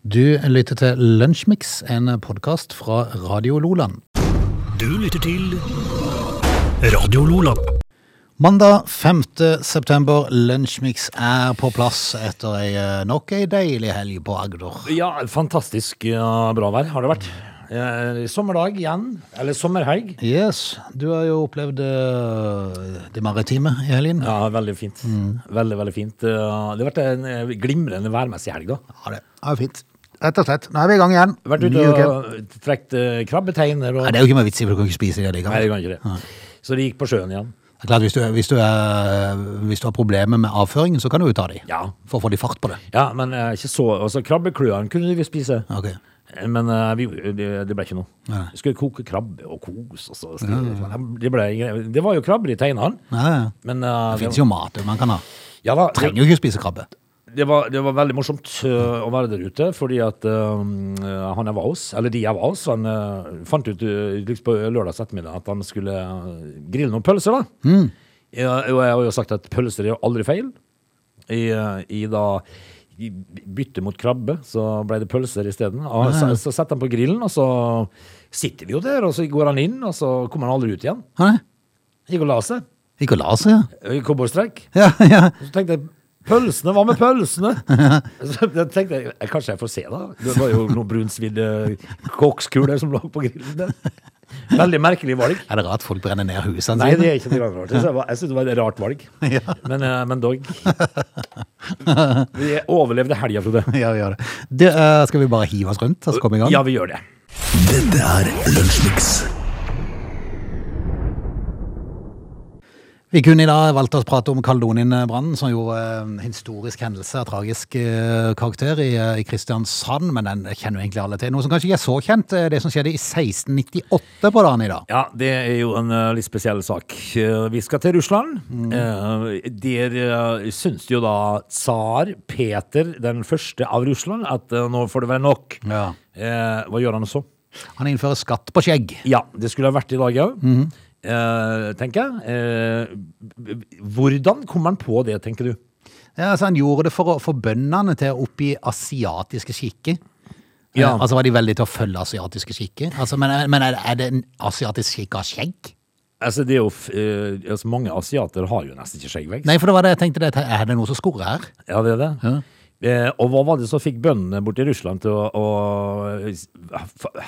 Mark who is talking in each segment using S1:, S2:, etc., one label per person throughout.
S1: Du lytter til Lunsjmix, en podkast fra Radio Loland.
S2: Du lytter til Radio Lola.
S1: Mandag 5. september, Lunsjmix er på plass etter ei eh, nok ei deilig helg på Agder.
S3: Ja, fantastisk ja, bra vær har det vært. Eh, sommerdag igjen, eller sommerhelg.
S1: Yes, du har jo opplevd eh, det maritime i helgen.
S3: Ja, veldig fint.
S1: Mm.
S3: Veldig, veldig fint. Eh, Det har vært en eh, glimrende værmessig helg, da.
S1: Ja, det er jo fint. Rett og slett. Nå er vi i gang igjen.
S3: Vært
S1: Ny
S3: ute
S1: uke.
S3: og trukket eh, krabbeteiner og
S1: Nei, det er jo ikke mer vits i, for du kan ikke spise det
S3: Nei,
S1: likevel.
S3: det kan ikke det. Så det gikk på sjøen igjen.
S1: Det er klart, hvis du, hvis, du er, hvis du har problemer med avføringen, så kan du jo ta de.
S3: Ja.
S1: For å få de fart på det.
S3: Ja, men eh, ikke så Altså, krabbekløene kunne vi spise.
S1: Ok.
S3: Eh, Men eh, vi, det, det ble ikke noe.
S1: Nei.
S3: Vi skulle koke krabbe og kose oss. og styre. Det, ble, det var jo krabber i teinene.
S1: Ja, ja.
S3: Men eh,
S1: Det fins jo mat man kan ha.
S3: ja da, det-
S1: Trenger jo ikke spise krabbe.
S3: det var, det var veldig morsomt øh, å være der ute, fordi at øhm, øh, han jeg var hos, eller de jeg var hos, han øh, fant ut øh, liksom på lørdags ettermiddag at han skulle øh, grille noen pølser, da. Ja, og jeg har jo sagt at pølser er jo aldri feil. I, øh, i da i bytte mot krabbe, så ble det pølser isteden. Og Så, så setter han på grillen, og så sitter vi jo der, og så går han inn, og så kommer han aldri ut igjen.
S1: Hæ?
S3: Gikk og la seg.
S1: Ikke å la seg, ja.
S3: øh, i Cowboystreik.
S1: Ja, ja.
S3: Så tenkte jeg Pølsene, hva med pølsene? Så jeg tenkte jeg, Kanskje jeg får se, da. Det var jo noen brunsvidde kokskuler som lå på grillen der. Veldig merkelig valg.
S1: Er det rart folk brenner ned husene
S3: Nei, det
S1: sine?
S3: er ikke noe rart. Jeg var- jeg synes det var et rart valg. Men, eh, men dog. Vi overlevde helga, Frode.
S1: Ja, vi gjør det. det eh, skal vi bare hive oss rundt og så komme i gang?
S3: Ja, vi gjør det.
S2: Dette er Lunsjmix.
S1: Vi kunne i dag valgt å prate om Kaldonien-brannen, som jo er en historisk hendelse av tragisk eh, karakter i, eh, i Kristiansand, men den kjenner jo egentlig alle til. Noe som kanskje ikke er så kjent, er det som skjedde i 1698 på dagen i dag.
S3: Ja, det er jo en eh, litt spesiell sak. Eh, vi skal til Russland.
S1: Mm.
S3: Eh, der uh, syns jo da tsar Peter den første av Russland at eh, nå får det være nok.
S1: Ja.
S3: Eh, hva gjør han så?
S1: Han innfører skatt på skjegg.
S3: Ja, det skulle ha vært i dag òg, tenker jeg. Eh, b- b- hvordan kom han på det, tenker du?
S1: Ja, altså han gjorde det for å få bøndene til å oppgi asiatiske skikker.
S3: Ja.
S1: Eh, Altså var de veldig til å følge asiatiske skikker. Altså, men men er, er det en asiatisk skikk av skjegg?
S3: Altså, det er jo, f- eh, altså, mange asiater har jo nesten ikke skjeggvekst.
S1: Nei, for det var det jeg tenkte. Det, er det noe som skorrer her?
S3: Ja, det er det. Eh, og hva var det som fikk bøndene borti Russland til å, å s-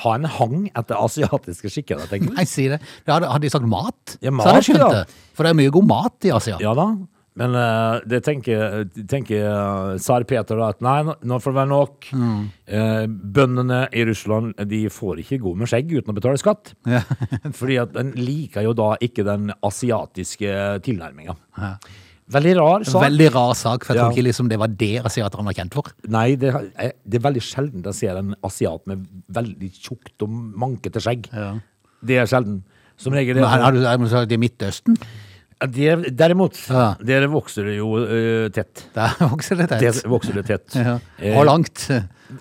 S3: ha en hang etter asiatiske skikker? da, tenker du?
S1: Nei, si det. det hadde, hadde de sagt mat,
S3: Ja,
S1: så hadde jeg
S3: mat,
S1: skjønt
S3: ja.
S1: det. For det er mye god mat i Asia.
S3: Ja da, men eh, det tenker, tenker eh, tsar Peter da, at nei, nå- nå får det være nok.
S1: Mm.
S3: Eh, bøndene i Russland de får ikke gå med skjegg uten å betale skatt. fordi at den liker jo da ikke den asiatiske tilnærminga. Veldig rar sak.
S1: Veldig rar sak, for jeg
S3: Ja.
S1: tror ikke liksom det var det asiaterne var kjent for.
S3: Nei, det, er- det er veldig sjelden jeg ser en asiat med veldig tjukt og mankete skjegg.
S1: Ja.
S3: Det er sjelden. Som regel
S1: Men har du har du sagt det er Midtøsten?
S3: Ja, det, Derimot,
S1: Ja.
S3: der vokser det jo eh, tett.
S1: Der vokser det
S3: Der
S1: tett.
S3: vokser det tett.
S1: Ja.
S3: Eh,
S1: Og langt.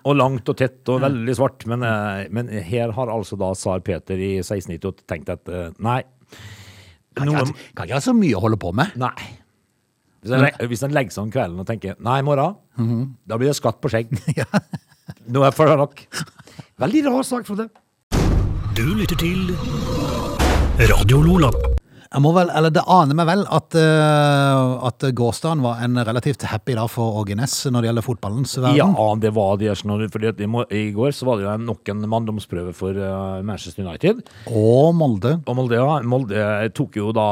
S3: Og langt og tett og veldig svart. Men, eh, men her har altså da tsar Peter i 1698 tenkt at eh, nei.
S1: Kan ikke,
S3: Noe,
S1: ha- kan ikke ha så mye å holde på med.
S3: nei. Hvis han, le- hvis han legger seg om kvelden og tenker nei, i morgen, da blir det skatt på skjegg. Nå er det for nok. Veldig rar sak, Frode.
S2: Du lytter til Radio Lola.
S1: Jeg må vel, eller Det aner meg vel at, eh, at gårsdagen var en relativt happy dag for Åge Næss når det gjelder fotballens
S3: Ja,
S1: verden.
S3: det var det. Arsenal, fordi at i, må- I går så var det jo en- nok en manndomsprøve for eh, Manchester United.
S1: Og Molde.
S3: Og Molde, ja, Molde eh, tok jo da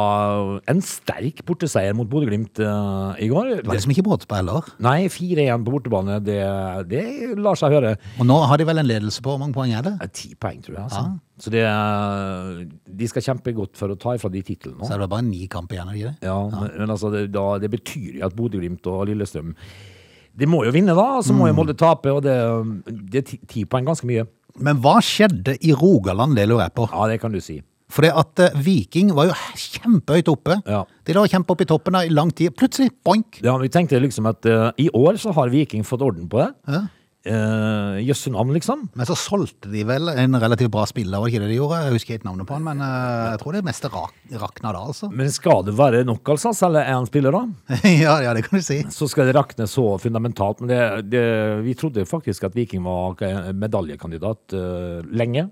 S3: en sterk borteseier mot Bodø-Glimt eh, i går.
S1: Det var liksom ikke brått på heller.
S3: Nei, 4-1 på bortebane, det, det lar seg høre.
S1: Og nå har de vel en ledelse på hvor mange poeng er det?
S3: Eh, Ti poeng, tror jeg. Altså. Så det, de skal kjempe godt for å ta ifra de titlene
S1: Så
S3: nå.
S1: er det bare ni kamper igjen. er det ikke det?
S3: Ja, men, men altså, det, da, det betyr jo at Bodø-Glimt og Lillestrøm De må jo vinne, da. Så må jo Molde tape, og det, det er ti- ti poeng ganske mye.
S1: Men hva skjedde i Rogaland, det lurer jeg på.
S3: Ja, det kan du si.
S1: For det at eh, Viking var jo kjempehøyt oppe.
S3: Ja.
S1: De lå og kjempa opp i toppen der i lang tid. Plutselig, boink!
S3: Ja, vi tenkte liksom at eh, i år så har Viking fått orden på det.
S1: Ja.
S3: Eh, jøsse navn, liksom.
S1: Men så solgte de vel en relativt bra spiller, var det ikke det de gjorde? Jeg husker ikke navnet på han, men eh, jeg tror det meste rak rakna da, altså.
S3: Men skal det være nok, altså, selge én spiller, da?
S1: ja, ja, det kan du si.
S3: så skal det rakne så fundamentalt. Men det, det, vi trodde faktisk at Viking var eh, medaljekandidat eh, lenge.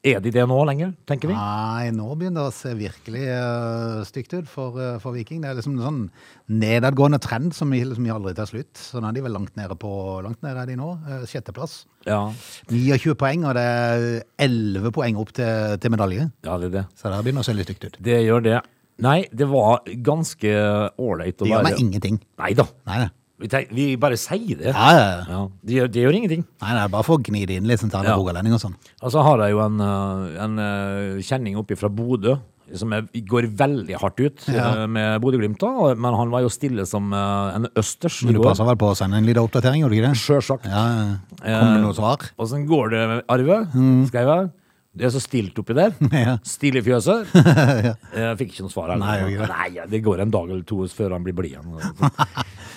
S3: Er de det nå lenger, tenker vi?
S1: Nei, nå begynner det å se virkelig eh, stygt ut for, eh, for Viking. Det er liksom en sånn nedadgående trend som vi liksom aldri tar slutt. Så nå er de vel langt nede på langt nede er de nå. eh, Sjetteplass.
S3: Ja,
S1: 29 poeng, og det er 11 poeng opp til, til medalje.
S3: ja det er det.
S1: Så det begynner å se litt stygt ut.
S3: Det gjør det. Nei, det var ganske ålreit å
S1: Det gjør meg
S3: være
S1: ingenting.
S3: Nei da.
S1: Nei, nei.
S3: Vi, tenk, vi bare sier det.
S1: Ja, ja, ja.
S3: Ja, det, gjør, det gjør ingenting.
S1: Nei, det er bare for å gni det inn litt, sånn til alle
S3: Ja.
S1: rogalendinger og sånn.
S3: Og så har jeg jo en, eh, en eh, kjenning oppe fra Bodø som er, går veldig hardt ut
S1: Ja.
S3: eh, med Bodø-Glimt, da. og- Men han var jo stille som eh, en østers. i
S1: Men du
S3: går.
S1: passer vel på å sende en liten oppdatering, gjorde du ikke det?
S3: Sjølsagt.
S1: Ja, ja.
S3: Eh,
S1: Kom det noe svar?
S3: Åssen går det, Arve? Skreiv jeg. Det er så stilt oppi der.
S1: Mm. Ja.
S3: Stille i fjøset. Jeg fikk ikke noe svar. Her.
S1: Nei, jeg gjør ikke det.
S3: Nei, ja, det går en dag eller to før han blir blid igjen.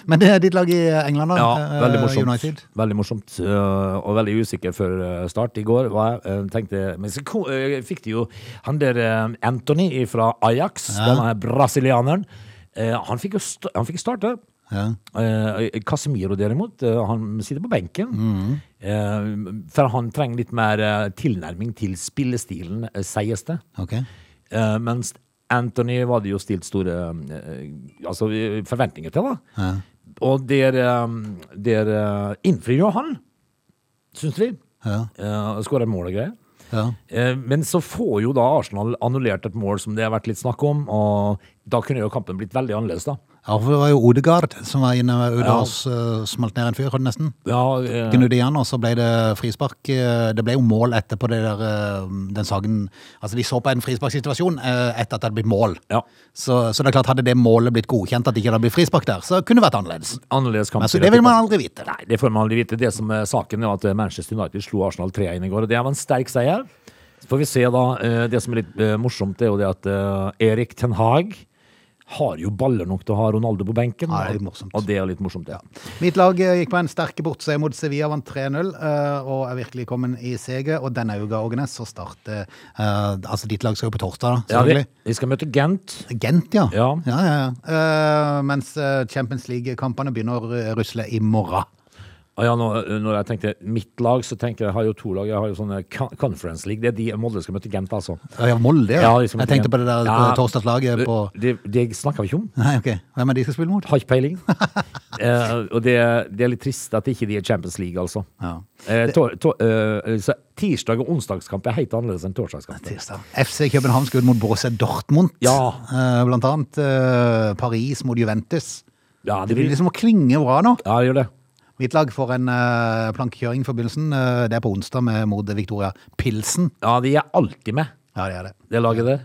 S1: Men det er ditt lag i England, da?
S3: Ja,
S1: eh,
S3: veldig morsomt.
S1: United.
S3: Veldig morsomt eh, og veldig usikker før eh, start i går. Var jeg, eh, tenkte, men så ko- eh, fikk de jo han der eh, Anthony fra Ajax, denne brasilianeren. eh, Han fikk jo st han fikk starte.
S1: Ja.
S3: Eh, Casemiro derimot, eh, han sitter på benken.
S1: Mm.
S3: Eh, for han trenger litt mer eh, tilnærming til spillestilen, eh, sies det.
S1: Ok.
S3: Eh, mens Anthony var det jo stilt store eh, altså, eh, forventninger til, da.
S1: Ja.
S3: Og der, eh, der eh, innfrir jo han, syns vi.
S1: Ja.
S3: Eh, Skårer mål og greier.
S1: ja.
S3: Eh, Men så får jo da Arsenal annullert et mål som det har vært litt snakk om, og da kunne jo kampen blitt veldig annerledes, da.
S1: Ja, for det var jo Odegaard som var inne ute
S3: Ja.
S1: og s- smalt ned en fyr, hadde nesten.
S3: Ja, eh,
S1: Gnudde igjen, og så ble det frispark. eh, Det ble jo mål etterpå det der, eh, den saken Altså, de så på en frisparksituasjon eh, etter at det hadde blitt mål.
S3: ja.
S1: Så, så det er klart, hadde det målet blitt godkjent, at det ikke hadde blitt frispark der, så kunne det vært annerledes.
S3: Annerledes kamp.
S1: Men så det vil man aldri vite.
S3: Nei, det får man aldri vite. Det som er saken, er at eh, Manchester United slo Arsenal 3-1 i går, og det var en sterk seier. Så får vi se, da. eh, Det som er litt eh, morsomt, det er jo det at eh, Erik Ten Hag har jo baller nok til å ha Ronaldo på benken.
S1: Ja, det er litt
S3: og-
S1: morsomt.
S3: Og det er litt morsomt, ja.
S1: Mitt lag eh, gikk på en sterk bortseier mot Sevilla, vant 3-0 eh, og er virkelig kommet i seger. Og denne uka, Ågenes, så starter eh, Altså, ditt lag skal jo på torsdag, da,
S3: ja vi,
S1: selvfølgelig.
S3: vi skal møte Gent.
S1: Gent, ja.
S3: Ja.
S1: ja, ja, ja. Eh, mens eh, Champions League-kampene begynner å rusle i morgen.
S3: Og ja, når, når jeg tenkte mitt lag, så tenkte jeg jeg har jo to lag. Jeg har jo sånne con- Conference League. Det er de Molde skal møte Gent, altså.
S1: Ja, ja, Molde, ja.
S3: Ja, de skal
S1: Jeg
S3: møte
S1: tenkte
S3: Gent.
S1: på det der
S3: Ja.
S1: eh, torsdagslaget på
S3: Det, det snakker vi ikke om.
S1: Nei, ok. Hvem er de skal spille mot?
S3: Har ikke peiling. Eh, og det, det er litt trist at ikke de er Champions League, altså.
S1: Ja.
S3: Eh, tor, tor, eh, så tirsdag- og onsdagskamp er helt annerledes enn torsdagskamp.
S1: Tirsdag. FC København skal ut mot Borussia Dortmund,
S3: Ja.
S1: Eh, blant annet. eh, Paris mot Juventus.
S3: Ja,
S1: Det blir liksom å klinge bra nå.
S3: Ja, det gjør det.
S1: Mitt lag får en uh, plankekjøring for begynnelsen. eh, det er på onsdag med mot Victoria Pilsen.
S3: Ja, de er alltid med,
S1: Ja, det er det.
S3: det laget der.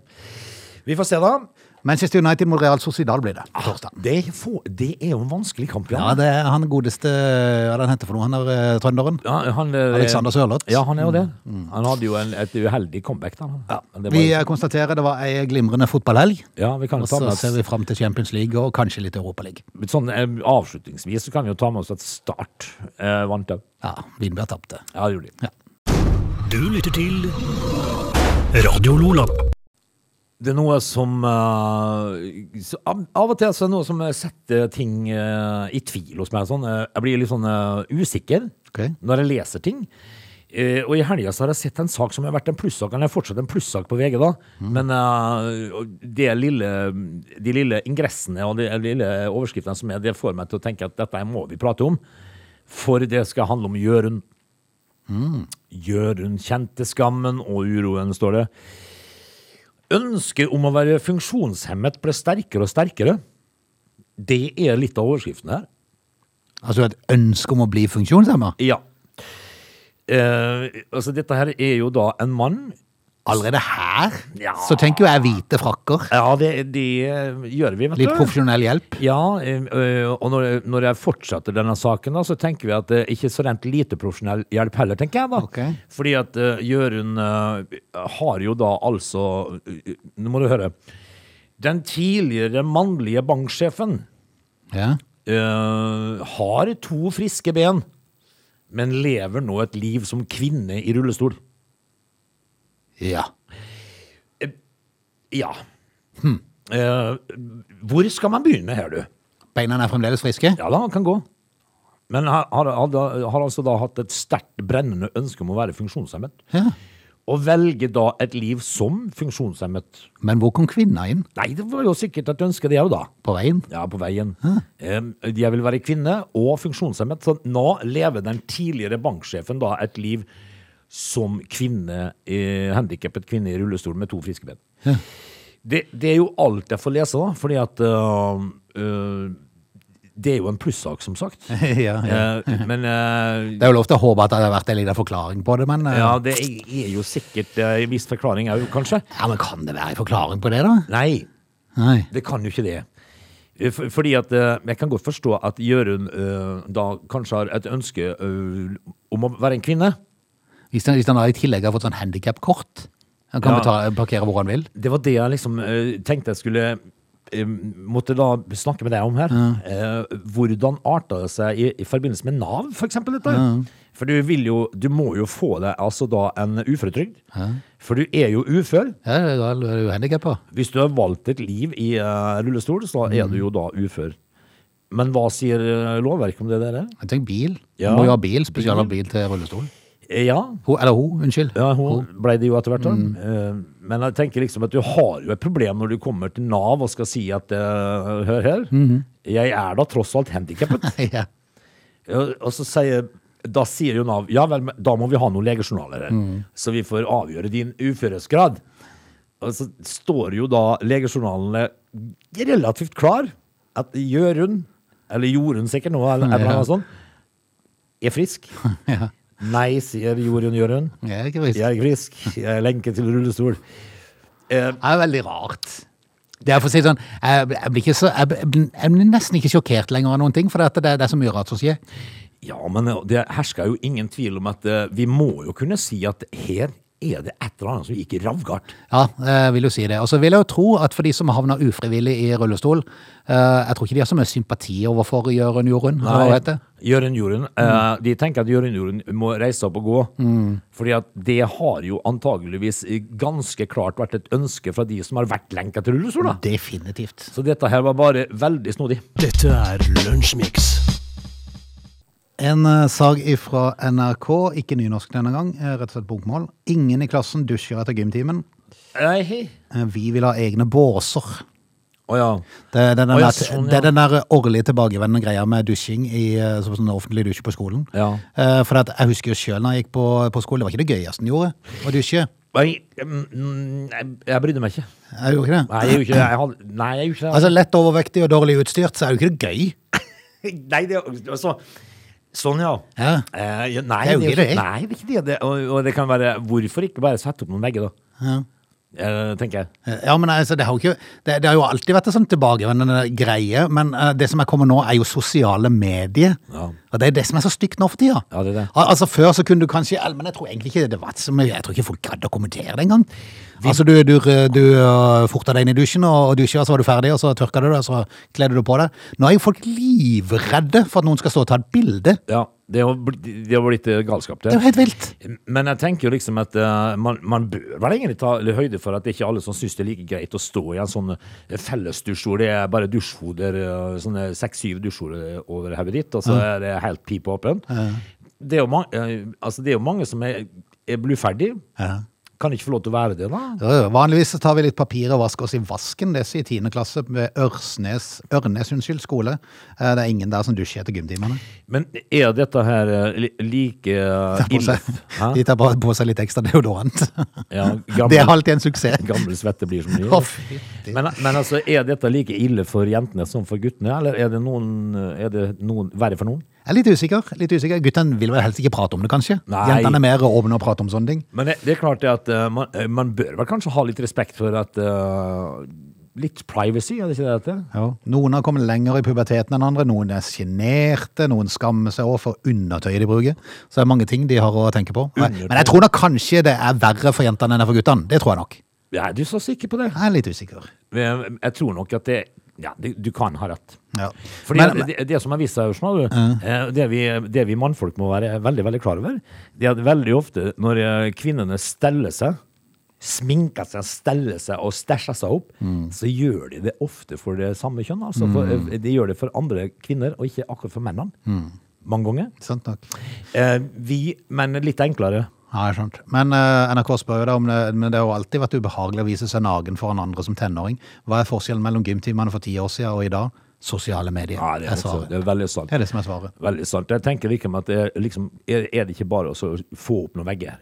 S3: Vi får se, da.
S1: Manchester United mot Real Sociedal blir det på torsdag.
S3: Det, får, det er jo en vanskelig kamp,
S1: Ja, det er han godeste Hva er det han heter for noe? Han er eh, trønderen.
S3: Ja, han, eh,
S1: Alexander Sørloth. Mm,
S3: Ja, han er jo det. Han hadde jo en, et uheldig comeback, da. Men det var,
S1: Vi
S3: jo-
S1: eh, konstaterer det var ei glimrende fotballhelg.
S3: ja, vi kan jo
S1: Og
S3: ta
S1: så
S3: med
S1: ser
S3: oss
S1: vi fram til Champions League og kanskje litt Europaliga.
S3: sånn, eh, Avslutningsvis så kan vi jo ta med oss at Start eh, vant òg.
S1: Ja, Vinberg tapte.
S3: Ja, det gjorde de.
S2: Du lytter til Radio Lola.
S3: Det er noe som eh, så av, av og til så er det noe som setter ting eh, i tvil hos meg. Sånn. Eh, Jeg blir litt sånn eh, usikker
S1: Ok.
S3: når jeg leser ting. Eh, og i helga så har jeg sett en sak som har vært en plussak. Den er fortsatt en plussak på VG, da. Men eh, og det lille, de lille ingressene og de lille overskriftene som er, det får meg til å tenke at dette må vi prate om. For det skal handle om Jørund. Jørund kjente skammen og uroen, står det. Ønsket om å være funksjonshemmet ble sterkere og sterkere. Det er litt av overskriften her.
S1: Altså et ønske om å bli funksjonshemma?
S3: Ja. Eh, altså, dette her er jo da en mann.
S1: Allerede her?
S3: Ja.
S1: Så tenker jo jeg hvite frakker.
S3: Ja, det, det gjør vi, vet
S1: Litt
S3: du.
S1: profesjonell hjelp.
S3: Ja, eh, eh, og når, når jeg fortsetter denne saken, da, så tenker vi at det er ikke så rent lite profesjonell hjelp heller, tenker jeg da.
S1: Ok.
S3: Fordi at uh, Jørund eh, har jo da altså eh, Nå må du høre. Den tidligere mannlige banksjefen
S1: Ja.
S3: eh, har to friske ben. men lever nå et liv som kvinne i rullestol.
S1: Ja.
S3: Ja. Eh, hvor skal man begynne her, du?
S1: Beina er fremdeles friske?
S3: Ja da, han kan gå. Men har, har, har, har altså da hatt et sterkt brennende ønske om å være funksjonshemmet.
S1: Ja.
S3: Og velge da et liv som funksjonshemmet.
S1: Men hvor kom kvinna inn?
S3: Nei, det var jo sikkert et ønske, det òg, da.
S1: På veien?
S3: Ja, på veien. Eh, Jeg vil være kvinne og funksjonshemmet. Så nå lever den tidligere banksjefen da et liv som kvinne, eh, handikappet kvinne i rullestol med to friske ben. Det, det er jo alt jeg får lese, da, fordi at eh, eh, Det er jo en plussak, som sagt.
S1: ja, ja.
S3: Eh, men eh,
S1: Det er jo lov til å håpe at det har vært en liten forklaring på det, men eh,
S3: ja, det er jo sikkert eh, en viss forklaring òg, kanskje.
S1: ja, men kan det være en forklaring på det, da?
S3: Nei,
S1: Nei.
S3: Det kan jo ikke det. Eh, for- Fordi at eh, Jeg kan godt forstå at Jørund eh, da kanskje har et ønske eh, om å være en kvinne.
S1: Hvis han, hvis han da i tillegg har fått sånn handikapkort Han kan
S3: Ja.
S1: betale, parkere hvor han vil.
S3: Det var det jeg liksom eh, tenkte jeg skulle eh, Måtte da snakke med deg om her. Eh, hvordan arta det seg i, i forbindelse med Nav, for eksempel? Dette? For du vil jo Du må jo få deg altså da en uføretrygd. For du er jo ufør.
S1: Ja, det er jo- det er jo handikappa.
S3: Hvis du har valgt et liv i eh, rullestol, så er du jo da ufør. Men hva sier eh, lovverket om det der?
S1: Jeg tenker bil.
S3: Ja.
S1: Må jo ha bil, spesielt ha bil til rullestol.
S3: Eh, Ja,
S1: Hun, eller hun, unnskyld.
S3: ja hun ble det jo etter hvert. da. Eh, Men jeg tenker liksom at du har jo et problem når du kommer til Nav og skal si at eh, hør her, jeg er da tross alt handikappet.
S1: ja.
S3: og så sier da sier jo Nav ja vel, men da må vi ha noen legejournaler her, så vi får avgjøre din uførhetsgrad. Og så står jo da legejournalene relativt klar at Jørund, eller Jorunn sikkert nå, eller, eller noe
S1: Ja.
S3: sånt, er frisk.
S1: ja.
S3: Nei, sier Jorunn Jørund.
S1: Jeg er ikke frisk.
S3: Jeg er frisk. Jeg er lenket til rullestol. Eh,
S1: Det er veldig rart. Det er for å si det sånn, jeg, jeg, blir ikke så, jeg, blir- jeg blir nesten ikke sjokkert lenger av noen ting, for det, at det, det er så mye rart som skjer.
S3: ja, men eh, det hersker jo ingen tvil om at eh, vi må jo kunne si at her er det et eller annet som gikk ravgart.
S1: Ja, jeg vil jo si det. Og så vil jeg jo tro at for de som havner ufrivillig i rullestol, eh, jeg tror ikke de har så mye sympati overfor Jørund Jorunn. eller Hva heter det?
S3: Jørund Jorunn. eh, de tenker at Jørund Jorunn må reise opp og gå. Fordi at det har jo antageligvis ganske klart vært et ønske fra de som har vært lenket til rullestol, da.
S1: Definitivt.
S3: Så dette her var bare veldig snodig.
S2: Dette er Lunsjmix.
S1: En eh, sag ifra NRK, ikke nynorsk denne gang, eh, rett og slett bokmål. Ingen i klassen dusjer etter gymtimen.
S3: Nei, hei.
S1: Eh, Vi vil ha egne båser.
S3: Å ja.
S1: Det er den
S3: Å,
S1: der,
S3: ja, sånn, ja.
S1: det er den der årlige tilbakevendende greia med dusjing i eh, som sånn offentlig dusj på skolen.
S3: Ja.
S1: Eh, For at jeg husker jo sjøl når jeg gikk på, på skolen, det var ikke det gøyeste en gjorde, å dusje.
S3: Nei, mm, jeg, jeg brydde meg ikke.
S1: Jeg gjorde ikke det.
S3: Nei, jeg gjorde ikke det. Jeg hadde, nei, jeg gjorde ikke det.
S1: Altså Lett overvektig og dårlig utstyrt, så er jo ikke det gøy.
S3: Nei, det er altså Sånn, ja.
S1: Ja.
S3: Eh, ja, nei,
S1: Det er jo ikke det.
S3: Nei, det er ikke det. det og, og det kan være Hvorfor ikke bare sette opp noen vegger, da? Eh, tenker jeg.
S1: Ja, men altså, det, har jo ikke, det, det har jo alltid vært en sånn tilbakevendende greie, men eh, det som er kommet nå, er jo sosiale medier.
S3: Ja.
S1: Og det er det som er så stygt nå for tida.
S3: Ja, det er det.
S1: Al altså, før så kunne du kanskje al- Men jeg tror egentlig ikke det var så mye. Jeg tror ikke folk gadd å kommentere det engang. Altså, du, du, du eh, forta deg inn i dusjen, og, og dusja, så var du ferdig, og så tørka du det, og så kledde du på deg. Nå er jo folk livredde for at noen skal stå og ta et bilde.
S3: Ja, det har blitt, det har blitt eh, galskap,
S1: Det er
S3: det.
S1: jo helt vilt.
S3: Men jeg tenker jo liksom at eh, man, man bør vel egentlig ta litt høyde for at det ikke er alle som syns det er like greit å stå i en sånn eh, fellesdusj hvor det er bare dusjhoder, eh, sånne seks-syv dusjhoder eh, over hodet ditt, og så er det helt pipa åpent. Det, er jo mange, eh, altså det er jo mange som er, er bluferdig.
S1: Ja.
S3: Kan ikke få lov til å være det, da.
S1: Ja, ja. Vanligvis så tar vi litt papir og vasker oss i vasken. Det sier 10. klasse ved Ørsnes, Ørnes unnskyld, skole. Eh, Det er ingen der som dusjer etter gymtimene.
S3: Men er dette her eh, li- like eh,
S1: På
S3: ille?
S1: seg-
S3: Hæ?
S1: De tar bare på seg litt ekstra deodorant.
S3: Ja,
S1: Det er
S3: gamle,
S1: alltid en suksess.
S3: gamle svette blir som
S1: Å,
S3: mye.
S1: fy.
S3: Men, men altså, er dette like ille for jentene som for guttene, eller er det noen, er det noen verre for noen?
S1: Jeg er litt usikker. litt usikker. Guttene vil vel helst ikke prate om det, kanskje?
S3: Nei.
S1: Jentene er mer åpne og prater om sånne ting.
S3: Men det, det er klart det at eh, man, eh, man bør vel kanskje ha litt respekt for at eh, Litt privacy, er det ikke det dette?
S1: Ja. Noen har kommet lenger i puberteten enn andre, noen er sjenerte, noen skammer seg over for undertøyet de bruker. Så det er mange ting de har å tenke på. Men men jeg tror nok kanskje det er verre for jentene enn det er for guttene. Det tror jeg nok.
S3: Ja, er du så sikker på det?
S1: Jeg er litt usikker.
S3: Men Jeg jeg tror nok at det ja, du, du kan ha rett.
S1: Ja.
S3: Fordi
S1: Men-
S3: det, det som har vist seg, Ørsna, du, eh, det, vi, det vi mannfolk må være veldig veldig klar over, det er at veldig ofte når eh, kvinnene steller seg, sminker seg, steller seg og stæsjer seg opp, så gjør de det ofte for det samme kjønn. Altså, for, eh, de gjør det for andre kvinner, og ikke akkurat for mennene. Mange ganger.
S1: Sant nok.
S3: Eh, vi, men litt enklere.
S1: Ja, jeg skjønt. Men eh, NRK spør jo da om det, men det har jo alltid vært ubehagelig å vise seg nagen foran andre som tenåring. Hva er forskjellen mellom gymtimene for ti år siden og i dag? Sosiale medier.
S3: Ja, det er,
S1: er
S3: også,
S1: svaret.
S3: det er veldig sant.
S1: Det er det som er svaret.
S3: Veldig sant. Jeg tenker liksom at det er, liksom, er, er det ikke bare å så få opp noen vegger,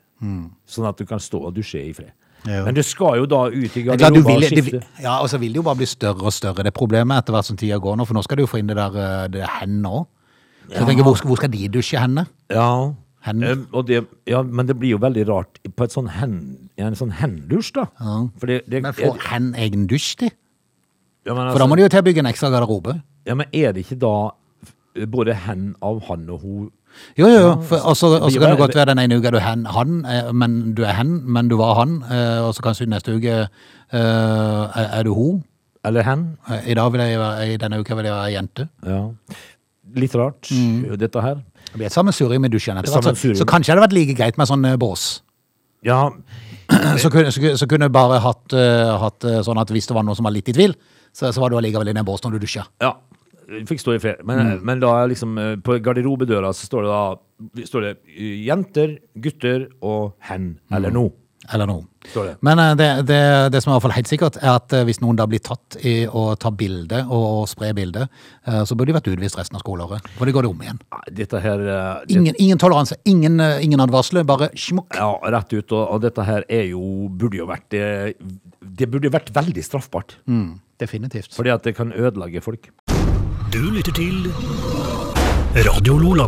S3: sånn at du kan stå og dusje i fred.
S1: Mm. Ja, jo.
S3: Men du skal jo da ut i
S1: Det er klart, du
S3: garderoben og
S1: vil,
S3: skifte.
S1: det, ja, og så vil det jo bare bli større og større, det problemet etter hvert som tida går nå. For nå skal du jo få inn det der eh, det hen nå. Så jeg tenker, hvor, skal- hvor skal de dusje henne?
S3: Ja.
S1: Hen.
S3: Eh, og det, ja, men det blir jo veldig rart på et sånn hen, en sånn hendusj, da. For, det, det,
S1: Men
S3: er,
S1: får hen egen dusj, de?
S3: Altså- ja, men
S1: For da
S3: altså,
S1: må de jo til å bygge en ekstra garderobe.
S3: ja, men er det ikke da f- både hen av han og hun
S1: Jo, jo, jo. for- Og så og så
S3: blir
S1: kan det
S3: bare-
S1: godt være den ene uka du er hen, han, eh, men du er hen, men du var han. eh, Og så kanskje neste uke eh, er er du ho.
S3: Eller hen?
S1: Eh, I dag vil jeg være, i denne uka vil jeg være jente.
S3: Ja. Litt rart,
S1: Mm.
S3: dette her.
S1: Det blir et sammensurium i dusjen etter hvert. Så,
S3: Sammensurium.
S1: så kanskje det hadde vært like greit med sånn eh, bås.
S3: Ja,
S1: Så kunne, så, kunne- så kunne jeg bare hatt, eh, hatt eh, sånn at hvis det var noen som var litt i tvil, så, så var du allikevel inne i en bås når du dusja.
S3: Ja. Fikk stå i fred. Men,
S1: Mm.
S3: men da er liksom eh, på garderobedøra så står det da står det eh, jenter, gutter og hen.
S1: Mm.
S3: Eller no.
S1: Eller noe.
S3: Står det.
S1: Men eh, det, det, det som er i hvert fall helt sikkert, er at eh, hvis noen da blir tatt i å ta bilde og, og spre bilde, eh, så burde de vært utvist resten av skoleåret. For det går det om igjen.
S3: Nei, Dette her eh, det,
S1: Ingen, ingen toleranse, ingen, eh, ingen advarsler, bare
S3: Mm.
S1: smukk.
S3: Ja, rett ut. Og, og dette her er jo Burde jo vært Det, det burde jo vært veldig straffbart.
S1: Mm. Definitivt.
S3: Fordi at det kan ødelegge folk.
S2: Du lytter til Radio Lola.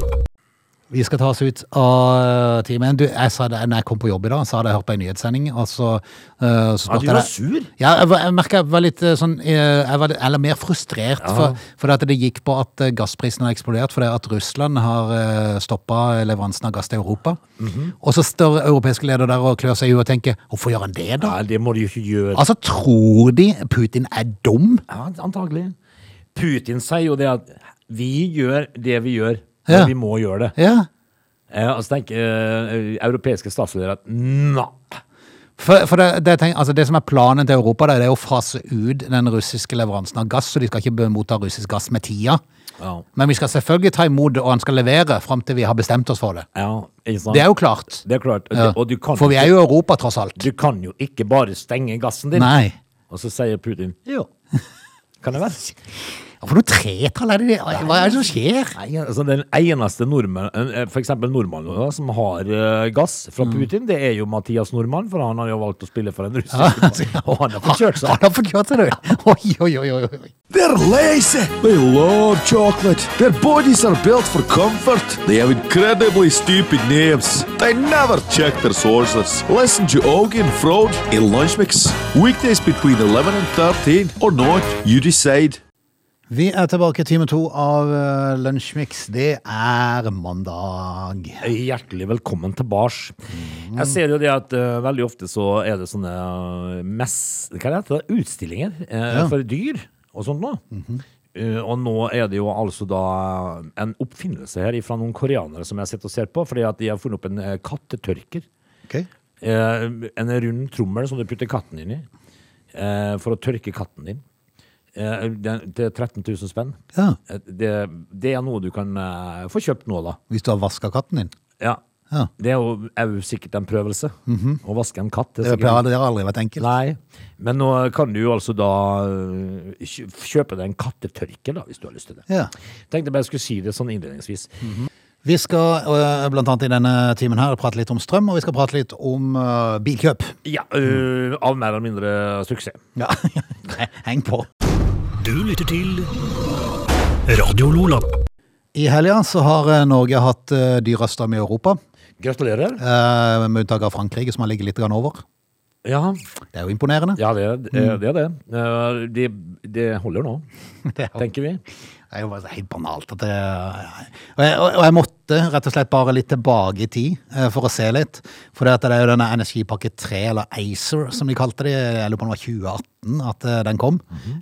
S1: Vi skal ta oss ut av timen. Du, jeg sa det når jeg kom på jobb i dag, så hadde jeg hørt på en nyhetssending, og så, eh, så
S3: Ja,
S1: spurte
S3: du var
S1: jeg
S3: sur.
S1: Ja, jeg, var- jeg merka jeg var litt eh, sånn eh, jeg var, Eller mer frustrert. For, for at det gikk på at eh, gassprisen har eksplodert fordi at Russland har stoppa leveransen av gass til Europa.
S3: Mhm.
S1: Og så står europeiske leder der og klør seg i huet og tenker hvorfor gjør han det, da?
S3: Nei, det må de jo ikke gjøre.
S1: Altså, tror de Putin er dum?
S3: Ja, antagelig. Putin sier jo det at vi gjør det vi gjør.
S1: Ja.
S3: Men vi må gjøre det.
S1: Ja.
S3: Eh, og så tenker eh, europeiske statsledere at nei.
S1: For, for det, det, jeg tenker, altså det som er planen til Europa, det er å fase ut den russiske leveransen av gass, så de skal ikke be- motta russisk gass med tida.
S3: Ja.
S1: Men vi skal selvfølgelig ta imot det, og han skal levere fram til vi har bestemt oss for det.
S3: Ja, ikke sant?
S1: Det er jo klart.
S3: Det er klart.
S1: Ja.
S3: Og du kan,
S1: For vi er jo Europa, tross alt.
S3: du kan jo ikke bare stenge gassen din.
S1: Nei.
S3: Og så sier Putin jo. Kan det være?
S1: Ja, For noe tretall er det det? Hva er det som skjer?
S3: Nei, altså Den eneste nordmann, eh, for eksempel nordmannen da, som har eh, gass
S1: Mm.
S3: fra Putin, det er jo Mathias Nordmann, for han har jo valgt å spille for en russer. Og han har fått kjørt
S1: Han
S3: seg.
S1: har fått kjørt seg, du. Oi, oi, oi, oi, oi.
S4: They're lazy. They love chocolate. Their bodies are built for comfort. They have incredibly stupid names. They never check their sources. Listen to Augie and Frode in Lunch Mix. Weekdays between 11 and 13 or not, you decide.
S1: Vi er tilbake i time to av eh, Lunsjmix. Det er mandag.
S3: Hjertelig velkommen tilbake. Jeg ser jo det at eh, veldig ofte så er det sånne eh, mess... Hva heter det? Utstillinger eh, for dyr og sånt nå. Eh, og nå er det jo altså da en oppfinnelse her fra noen koreanere som jeg sitter og ser på, fordi at de har funnet opp en eh, kattetørker.
S1: Ok.
S3: Eh, en rund trommel som du putter katten inn i eh, for å tørke katten din. Eh, den, det er 13 000 spenn.
S1: Ja.
S3: Eh, Det, det er noe du kan eh, få kjøpt nå, da.
S1: Hvis du har vaska katten din.
S3: Ja.
S1: Ja.
S3: Det er jo, er jo sikkert en prøvelse. Å vaske en katt. Det
S1: Det
S3: Mhm. er sikkert...
S1: pleier det har aldri vært enkelt.
S3: Nei, men nå kan du jo altså da øh, kjø- kjøpe deg en kattetørker, da, hvis du har lyst til det.
S1: Ja.
S3: Tenkte bare jeg skulle si det sånn innledningsvis.
S1: Vi skal øh, blant annet i denne timen her prate litt om strøm, og vi skal prate litt om øh, bilkjøp.
S3: Ja, øh, Av mer eller mindre suksess.
S1: Ja, heng på.
S2: Du lytter til Radio Lola.
S1: I helga så har øh, Norge hatt øh, dyrest strøm i Europa,
S3: Gratulerer.
S1: øh, med unntak av Frankrike, som har ligget litt grann over.
S3: Ja,
S1: Det er jo
S3: Mm.
S1: imponerende.
S3: Øh, ja det, det, det er det. Eh, Det, det holder nå, tenker vi.
S1: Det er jo bare helt banalt. At det, og, jeg, og jeg måtte rett og slett bare litt tilbake i tid eh, for å se litt. For det at det er jo denne energipakke 3, eller ACER som de kalte det, jeg lurer på om det var 2018 at eh, den kom.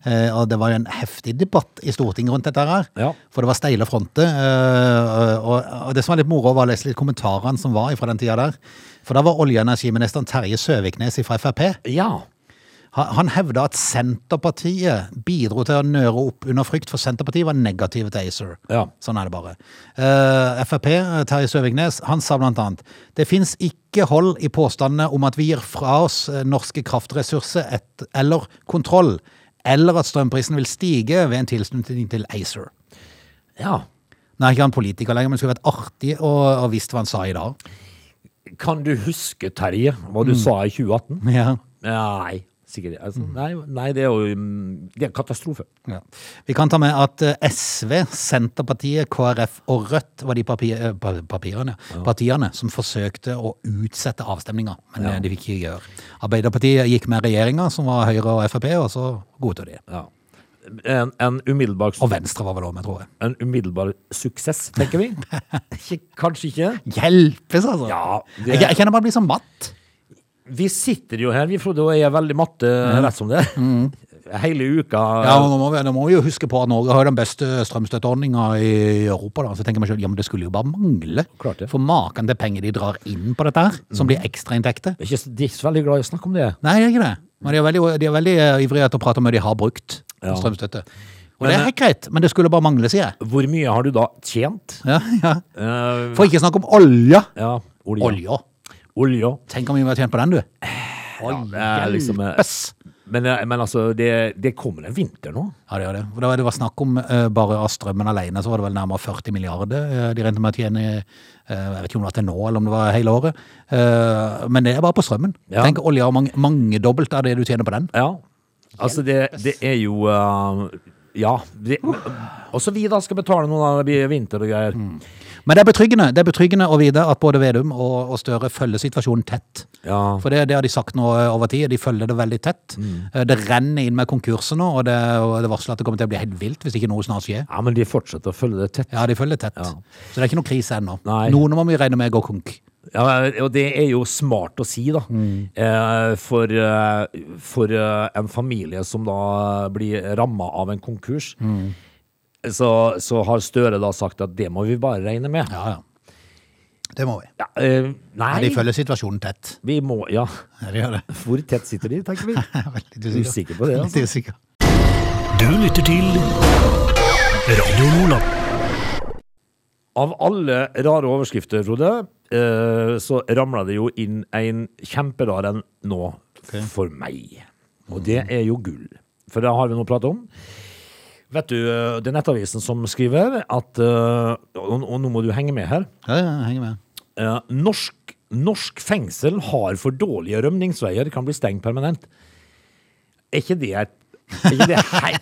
S1: Eh, Og det var jo en heftig debatt i Stortinget rundt dette her.
S3: Ja.
S1: For det var steile fronter. eh, Og, og det som var litt moro, var å lese litt kommentarene som var fra den tida der. For da var olje- og energiministeren Terje Søviknes fra Frp.
S3: Ja.
S1: Han han hevda at Senterpartiet bidro til å nøre opp under frykt, for Senterpartiet var negative til ACER.
S3: Ja.
S1: Sånn er det bare. Eh, Frp, eh, Terje Søviknes, han sa blant annet det fins ikke hold i påstandene om at vi gir fra oss eh, norske kraftressurser et, eller kontroll, eller at strømprisen vil stige ved en tilslutning til ACER.
S3: ja.
S1: Nå er ikke han politiker lenger, men det skulle vært artig å, å visst hva han sa i dag.
S3: Kan du huske, Terje, hva du sa i 2018?
S1: Ja.
S3: Nei, sikkert altså, nei, nei, det er jo mm, Det er en katastrofe.
S1: Ja. Vi kan ta med at eh, SV, Senterpartiet, KrF og Rødt var de papir, eh, pa- papirene, partiene som forsøkte å utsette avstemninga, men eh, de fikk ikke gjøre. Arbeiderpartiet gikk med regjeringa, som var Høyre og Frp, og så godtok de det.
S3: Ja. En, en, umiddelbar,
S1: Og Venstre var vel òg med, tror jeg.
S3: en umiddelbar suksess, tenker vi. Ikke, kanskje ikke.
S1: Hjelpes, altså!
S3: Ja, det-
S1: jeg, jeg kjenner man blir så matt.
S3: Vi sitter jo her, vi Frode og jeg er veldig matte rett som det. er. Hele uka.
S1: Ja, men nå må, vi, nå må vi jo huske på at Norge har jo den beste strømstøtteordninga i Europa. Da. Så tenker man selv, ja, men det skulle jo bare mangle.
S3: Klart det. Mm.
S1: For maken til penger de drar inn på dette her, som blir ekstrainntekter.
S3: Jeg er ikke så, de er ikke så veldig glad i å snakke om det.
S1: Nei, det er ikke det. Men de er veldig, de er veldig eh, ivrige etter å prate om hva de har brukt
S3: Ja.
S1: strømstøtte. Og
S3: Men, eh,
S1: det er helt greit, men det skulle bare mangle, sier jeg.
S3: Hvor mye har du da tjent?
S1: Ja, ja.
S3: Eh,
S1: For ikke å snakke om olja.
S3: ja, olje.
S1: Olja.
S3: Olje.
S1: Tenk om vi var tjent på den, du.
S3: Ja, det er liksom, eh,
S1: Hjelpes.
S3: men, eh, men altså, det, det kommer en vinter nå.
S1: Ja, det gjør det. For da var det var snakk om eh, bare av strømmen alene, så var det vel nærmere 40 milliarder eh, de regnet med å tjene, eh, jeg vet ikke om det var til nå, eller om det var hele året. Eh, men det er bare på strømmen.
S3: Ja.
S1: Tenk olja har mange, mangedobbelt av det du tjener på den.
S3: Ja. Altså, det, det er jo eh, Ja. Det, men, også vi da skal betale noe når det blir vinter og greier.
S1: Men det er betryggende, det er betryggende å vite at både Vedum og, og Støre følger situasjonen tett.
S3: Ja. Mm.
S1: For det, det har de sagt nå eh, over tid, de følger det veldig tett. Eh, Det renner inn med konkurser nå, og det, og det varsler at det kommer til å bli helt vilt hvis ikke noe snart skjer.
S3: ja, men de fortsetter å følge det tett.
S1: Ja, de følger tett.
S3: Ja.
S1: Så det er ikke noe krise ennå.
S3: Nei.
S1: Noen må vi regne med går konk.
S3: Ja, og det er jo smart å si, da. Eh, for eh, for eh, en familie som da blir ramma av en konkurs, så, så har Støre da sagt at det må vi bare regne med.
S1: Ja, ja. Det må vi.
S3: Ja, eh, nei,
S1: Ja, de følger situasjonen tett.
S3: vi må Ja,
S1: Ja, de gjør det.
S3: hvor tett sitter de, tenker vi.
S1: Jeg er veldig
S3: Usikker på det, altså.
S1: Veldig usikker.
S2: Du lytter til Radio Lola.
S3: Av alle rare overskrifter, Frode, eh, så ramla det jo inn en kjemperar en nå for meg. Og det er jo gull. For det har vi nå pratet om. Vet du, eh, det er Nettavisen som skriver at eh, Og, og nå må du henge med her.
S1: Ja, ja, jeg henger med.
S3: Eh, Norsk, norsk fengsel har for dårlige rømningsveier, kan bli stengt permanent. Er ikke det et er ikke det, hei,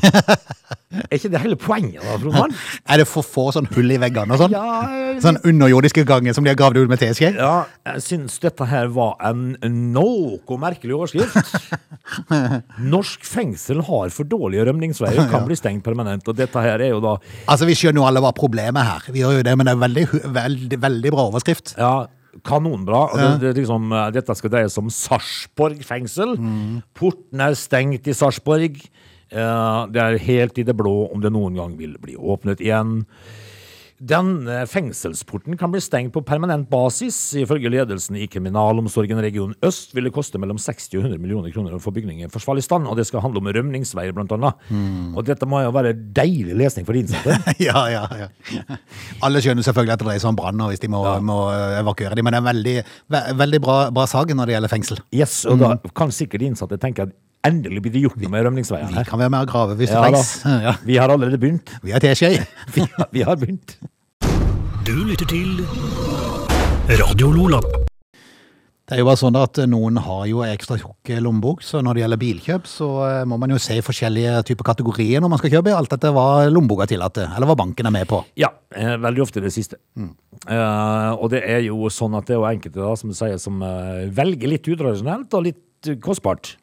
S3: er ikke det hele poenget, da, Frode? Mann?
S1: Er det for få sånn hull i veggene og sånn?
S3: Ja, eh, jeg-
S1: Sånn underjordiske ganger som de har gravd ut med teskje?
S3: Ja, jeg syns dette her var en noe merkelig overskrift. Norsk fengsel har for dårlige rømningsveier, kan bli stengt permanent. Og dette her er jo da
S1: Altså, vi skjønner jo alle hva problemet er her. Vi gjør jo det, men det er veldig, hu- veldig, veldig bra overskrift.
S3: ja, kanonbra. Og det, det, er liksom, eh, dette skal dreie seg om Sarpsborg fengsel. Porten er stengt i Sarpsborg. Eh, det er helt i det blå om det noen gang vil bli åpnet igjen. Denne fengselsporten kan bli stengt på permanent basis. Ifølge ledelsen i Kriminalomsorgen region øst vil det koste mellom 60 og 100 millioner kroner å få bygningen i forsvarlig stand, og det skal handle om rømningsveier, blant annet. Og dette må jo være deilig lesning for de innsatte.
S1: Ja, ja, ja. Alle skjønner selvfølgelig at det dreier seg om brann og hvis de må, må evakuere dem, men det er en veldig, ve veldig bra, bra sag når det gjelder fengsel.
S3: Yes, og da kan sikkert de innsatte tenke at endelig blir det gjort noe med rømningsveiene
S1: Vi
S3: her.
S1: kan være med og grave hvis
S3: Ja
S1: det
S3: da,
S1: trengs. Ja.
S3: vi har allerede begynt.
S1: Vi har teskje.
S3: Vi har, vi har begynt.
S2: Du lytter til Radio Lola.
S1: Det er jo bare sånn at noen har jo ekstra tjukk lommebok, så når det gjelder bilkjøp, så eh, må man jo se i forskjellige typer kategorier når man skal kjøpe, alt etter hva lommeboka tillater, eller hva banken er med på.
S3: Ja, eh, veldig ofte det siste. Eh, og det er jo sånn at det er jo enkelte da, som du sier, som eh, velger litt utradisjonelt og litt eh, kostbart.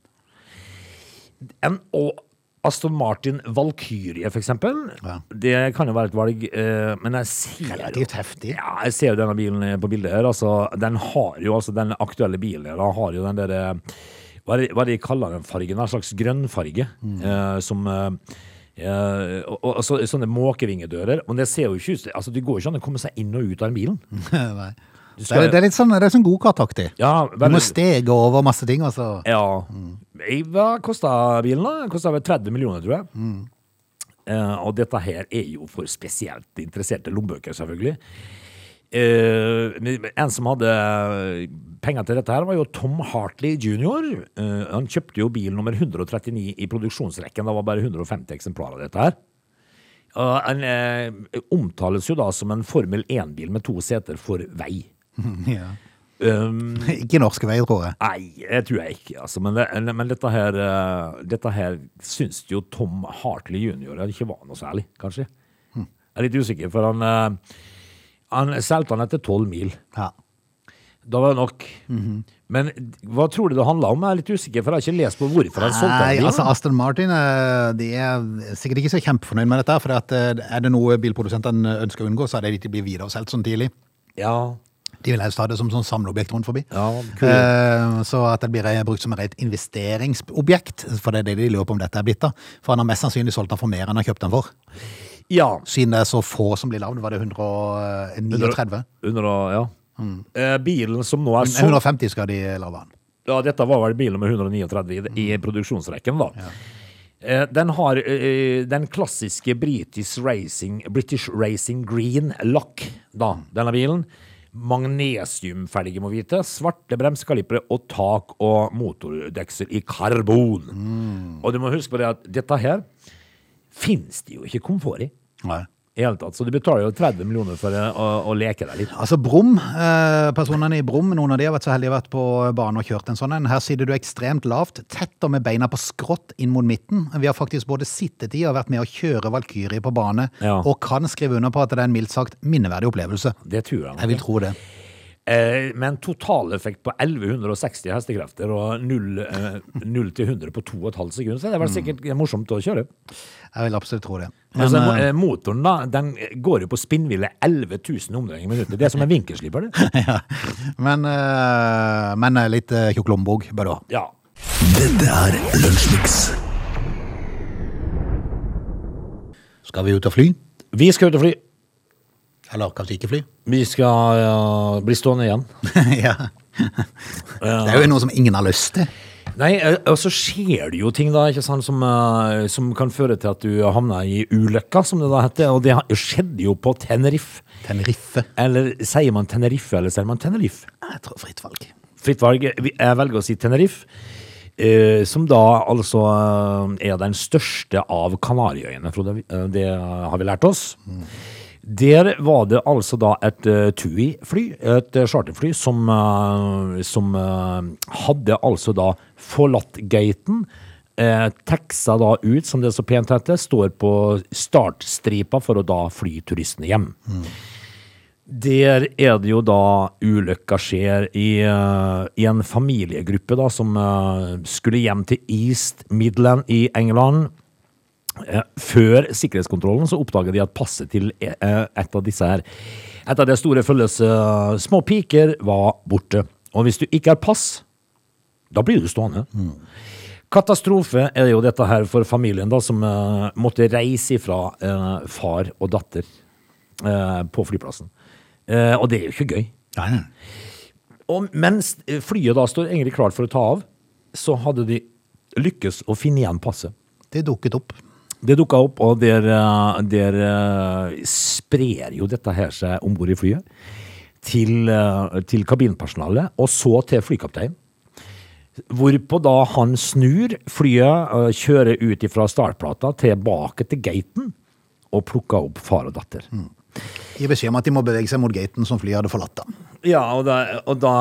S3: En, og Aston Martin Valkyrie, for eksempel.
S1: Ja.
S3: Det kan jo være et valg, eh, men jeg ser
S1: Relativt heftig.
S3: Ja, jeg ser jo denne bilen på bildet her. Altså, den har jo altså den aktuelle bilen her. Den har jo den derre hva, er det- hva er det de kaller den fargen? En slags grønnfarge.
S1: Mm.
S3: Eh, som eh, eh, og, og, og så, sånne måkevingedører. Men det ser jo ikke ut som- altså, Det går jo ikke an å komme seg inn og ut av den bilen.
S1: Mm. Nei. Det er,
S3: skal-
S1: det er litt sånn, det er sånn godkartaktig.
S3: Ja,
S1: Du må
S3: veldig-
S1: stege over masse ting, altså.
S3: Ja. Nei, Mm. Hva kosta bilen, da? Den Kosta vel 30 millioner, tror jeg. Eh, og dette her er jo for spesielt interesserte lommebøker, selvfølgelig. Eh, men- men en som hadde penger til dette her, var jo Tom Hartley jr. Eh, han kjøpte jo bil nummer 139 i produksjonsrekken. Det var bare 150 eksemplarer av dette her. Og han eh, omtales jo da som en Formel 1-bil med to seter for vei.
S1: Ja.
S3: Um,
S1: Ikke norske veier, tror jeg.
S3: Nei, det tror jeg ikke. Altså. Men, det- men dette her eh, Dette her syns jo Tom Hartley jr. ikke var noe særlig, kanskje.
S1: Hm.
S3: Jeg er litt usikker, for han eh, Han solgte han etter tolv mil.
S1: Ja.
S3: Da var det nok.
S1: Mhm.
S3: Men hva tror du det handla om? Jeg er litt usikker, for jeg har ikke lest på hvorfor han solgte
S1: Nei,
S3: den. bilen.
S1: altså Aston Martin eh, de er sikkert ikke så kjempefornøyd med dette. For at, eh, er det noe bilprodusentene ønsker å unngå, så er det at de ikke blir videresolgt sånn tidlig.
S3: ja.
S1: De vil helst ha det som sånn samleobjekt rundt forbi.
S3: Ja, kul.
S1: Eh, så at det blir eh, brukt som et rent investeringsobjekt, for det er det de lurer på om dette er blitt. da. For han har mest sannsynlig solgt den for mer enn han har kjøpt den for.
S3: ja.
S1: Siden det er så få som blir lagd, var det eh, 139?
S3: Under, å- ja.
S1: Hm.
S3: Eh, bilen som nå er
S1: Nei,
S3: solgt
S1: 150 skal de lage den.
S3: Ja, dette var vel bilen med 139 i, i produksjonsrekken, da. Eh, Den har eh, den klassiske British Racing, British Racing Green Lock, da, denne bilen. Magnesiumfelge, må vite. Svarte bremsekalipere og tak og motordeksel i karbon. Og du må huske på det at dette her fins det jo ikke komfort i.
S1: Nei.
S3: I hele tatt. Så du betaler jo 30 millioner for eh, å, å leke deg litt.
S1: Altså Brum, eh, personene i Brum, noen av de har vært så heldige å ha vært på banen og kjørt en sånn en. Her sitter du ekstremt lavt, tett og med beina på skrått inn mot midten. Vi har faktisk både sittet i og vært med å kjøre Valkyrie på bane,
S3: Ja.
S1: og kan skrive under på at det er en mildt sagt minneverdig opplevelse.
S3: Det tror jeg. nok.
S1: Jeg vil tro det.
S3: Eh, med en totaleffekt på 1160 hestekrefter og 0, eh, 0 til 100 på 2,5 sekunder, så det var sikkert morsomt å kjøre.
S1: Jeg vil absolutt tro det. Men,
S3: altså, mo- eh, motoren da, den går jo på spinnville 11 000 omdreininger i minuttet. Det er som en vinkelsliper, det.
S1: ja. men, eh, men eh, litt eh, tjukk lommebok bør du ha.
S3: Ja.
S2: Dette er Lunsjmix.
S1: Skal vi ut og fly?
S3: Vi skal ut og fly.
S1: Eller kanskje ikke fly?
S3: Vi skal ja, bli stående igjen.
S1: ja. Det er jo noe som ingen har lyst til.
S3: Nei, eh, og så skjer det jo ting da, ikke sant, som, eh, som kan føre til at du havner i ulykka, som det da heter. Og det har- skjedde jo på Tenerife.
S1: Tenerife.
S3: Eller sier man Tenerife, eller sier man Tenerife?
S1: Jeg tror fritt valg.
S3: Fritt valg. Vi- Jeg velger å si Tenerife. eh, som da altså eh, er den største av Kanariøyene, Frode. Eh, Det har vi lært oss. Der var det altså da et eh, TUI-fly, et eh, charterfly, som, eh, som eh, hadde altså da forlatt gaten. Uh, taxa da ut, som det så pent heter, står på startstripa for å da fly turistene hjem. Der er det jo da ulykka skjer i, eh, i en familiegruppe da, som eh, skulle hjem til East Midland i England. Eh, før sikkerhetskontrollen så oppdager de at passet til eh, et av disse her, et av det store følges eh, små piker, var borte. Og hvis du ikke har pass, da blir du stående. Katastrofe er jo dette her for familien da, som eh, måtte reise ifra eh, far og datter eh, på flyplassen. Eh, og det er jo ikke gøy.
S1: Nei, nei.
S3: Og mens eh, flyet da står egentlig klart for å ta av, så hadde de lykkes å finne igjen passet.
S1: Det dukket opp.
S3: Det dukka opp, og der, eh, der eh, sprer jo dette her seg om bord i flyet. Til, eh, til kabinpersonalet, og så til flykapteinen. Hvorpå da han snur flyet, eh, kjører ut ifra startplata tilbake til gaten og plukker opp far og datter.
S1: Gi beskjed om at de må bevege seg mot gaten som flyet hadde forlatt. da.
S3: Ja, og da, og da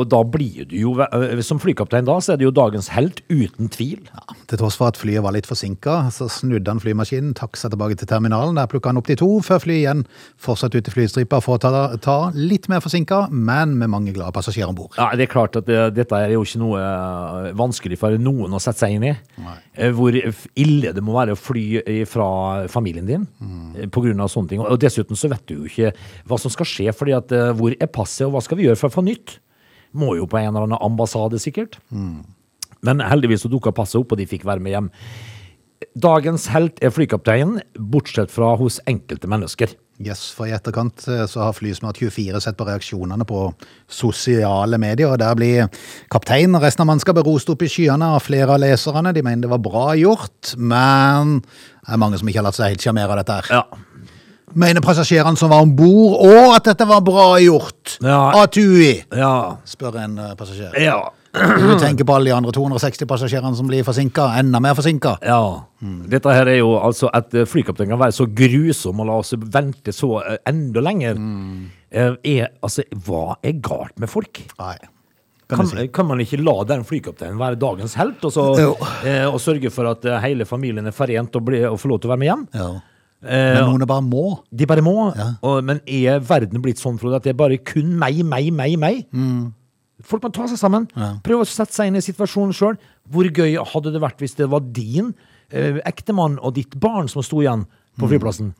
S3: Og da blir du jo, eh, som flykaptein da, så er du jo dagens helt uten tvil.
S1: Ja, til tross for at flyet var litt forsinka, så snudde han flymaskinen, taksa tilbake til terminalen. Der plukka han opp de to, før flyet igjen fortsatte ut til flystripa for å ta, ta litt mer forsinka, men med mange glade passasjerer om bord.
S3: Ja, det er klart at det, dette er jo ikke noe eh, vanskelig for noen å sette seg inn i. Eh, Hvor f- ille det må være å fly fra familien din eh, på grunn av sånne ting. Og dessuten så vet du jo ikke hva som skal skje, fordi at eh, hvor er passet, og hva skal vi gjøre for å få nytt? Må jo på en eller annen ambassade, sikkert. Men heldigvis så dukka passet opp, og de fikk være med hjem. Dagens helt er flykapteinen, bortsett fra hos enkelte mennesker.
S1: Yes, for i etterkant eh, så har Flysmart24 sett på reaksjonene på sosiale medier, og der blir kapteinen og resten av mannskapet rost opp i skyene av flere av leserne. De mener det var bra gjort, men det er mange som ikke har latt seg helt sjarmere av dette her.
S3: Ja,
S1: Mener passasjerene som var om bord, og at dette var bra gjort
S3: Ja.
S1: av TUI,
S3: ja,
S1: spør en eh, passasjer.
S3: ja.
S1: Du tenker på alle de andre 260 passasjerene som blir forsinka, enda mer forsinka.
S3: ja. Dette her er jo altså at eh, flykapteinen kan være så grusom og la oss vente så eh, enda lenger. Eh, Er, altså, hva er galt med folk?
S1: Nei. Kan
S3: Kan,
S1: du si.
S3: kan man ikke la den flykapteinen være dagens helt, og, så,
S1: Jo.
S3: eh, og sørge for at eh, hele familien er forent og, blir- og får lov til å være med hjem?
S1: Ja.
S3: Eh,
S1: Men noen bare må.
S3: De bare må. Og, men er verden blitt sånn, Frode, at det er bare kun meg, meg, meg, meg? Folk må ta seg sammen. Prøve å sette seg inn i situasjonen sjøl. Hvor gøy hadde det vært hvis det var din eh, ektemann og ditt barn som sto igjen på flyplassen?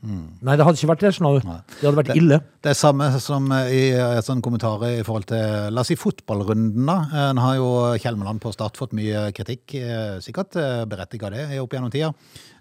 S3: Nei, det hadde ikke vært det. skjønner du. Det hadde vært ille.
S1: Det er samme som i et sånn kommentar i forhold til La oss si fotballrunden, da. En har jo Kjelmeland på start fått mye kritikk. eh, Sikkert berettiga det opp gjennom tida.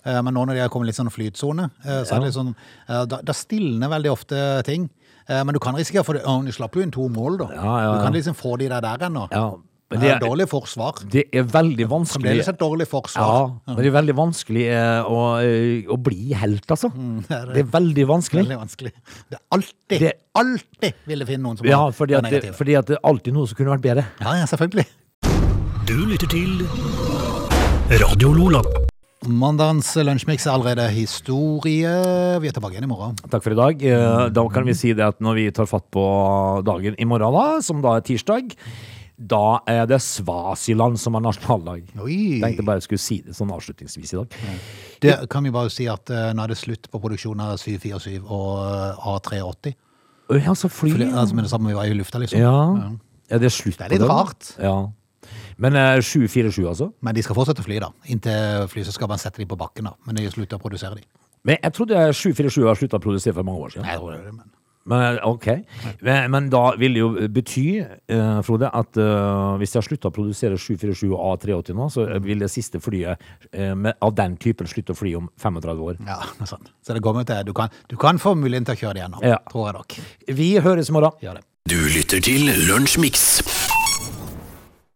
S1: Eh, Men nå når de har kommet litt sånn flytsone, eh, så er det sånn eh, Da, da stilner veldig ofte ting. Eh, Men du kan risikere, for det- å, de slapp jo inn to mål, da.
S3: Ja, ja,
S1: Du kan
S3: ja.
S1: liksom få de der der ennå.
S3: Ja,
S1: det
S3: men det
S1: er
S3: er,
S1: dårlig forsvar.
S3: det er veldig vanskelig
S1: Fremdeles et sånn dårlig
S3: ja,
S1: forsvar.
S3: men det er veldig vanskelig eh, å, eh, å bli helt, altså.
S1: det er det.
S3: Det er veldig vanskelig.
S1: Mm. Veldig vanskelig. Det er alltid,
S3: Det-
S1: alltid vil jeg finne noen som
S3: Ja,
S1: har-
S3: fordi
S1: er
S3: at, det,
S1: negative.
S3: fordi at det er alltid noe som kunne vært bedre.
S1: Ja, ja, selvfølgelig.
S2: Du lytter til Radio Lola.
S1: Mandagens lunsjmix er allerede historie. Vi er tilbake igjen i morgen.
S3: Takk for i dag. Eh,
S1: Mm.
S3: Da kan vi si det at når vi tar fatt på dagen i morgen, da, som da er tirsdag, da er det Svasiland som er nasjonaldag.
S1: Oi.
S3: Tenkte bare jeg skulle si det sånn avslutningsvis i dag.
S1: Det kan vi bare si at eh, nå er det slutt på produksjonen av 747 og eh, A380.
S3: Oi, altså fly.
S1: Fordi, altså, med det samme vi var i lufta, liksom.
S3: ja. ja, det er slutt
S1: Det er
S3: på
S1: litt
S3: da?
S1: rart.
S3: Ja. Men eh, 747, altså?
S1: Men de skal fortsette å fly, da. Inntil flyselskapene setter de på bakken. da. Men de slutter å produsere de.
S3: Men jeg trodde 747 har slutta å produsere for mange år siden.
S1: Nei, jeg tror det er det, men...
S3: Men, eh, ok. Men, men da vil det jo bety, eh, Frode, at eh, hvis de har slutta å produsere 747 og A380 nå, så eh, vil det siste flyet eh, med, av den typen slutte å fly om 35 år.
S1: Ja, noe sånt. Så det kommer til du kan, du kan få muligheten til å kjøre det gjennom,
S3: Ja.
S1: tror jeg nok.
S3: Vi høres i morgen.
S1: Gjør det.
S2: Du lytter til Lunsjmix.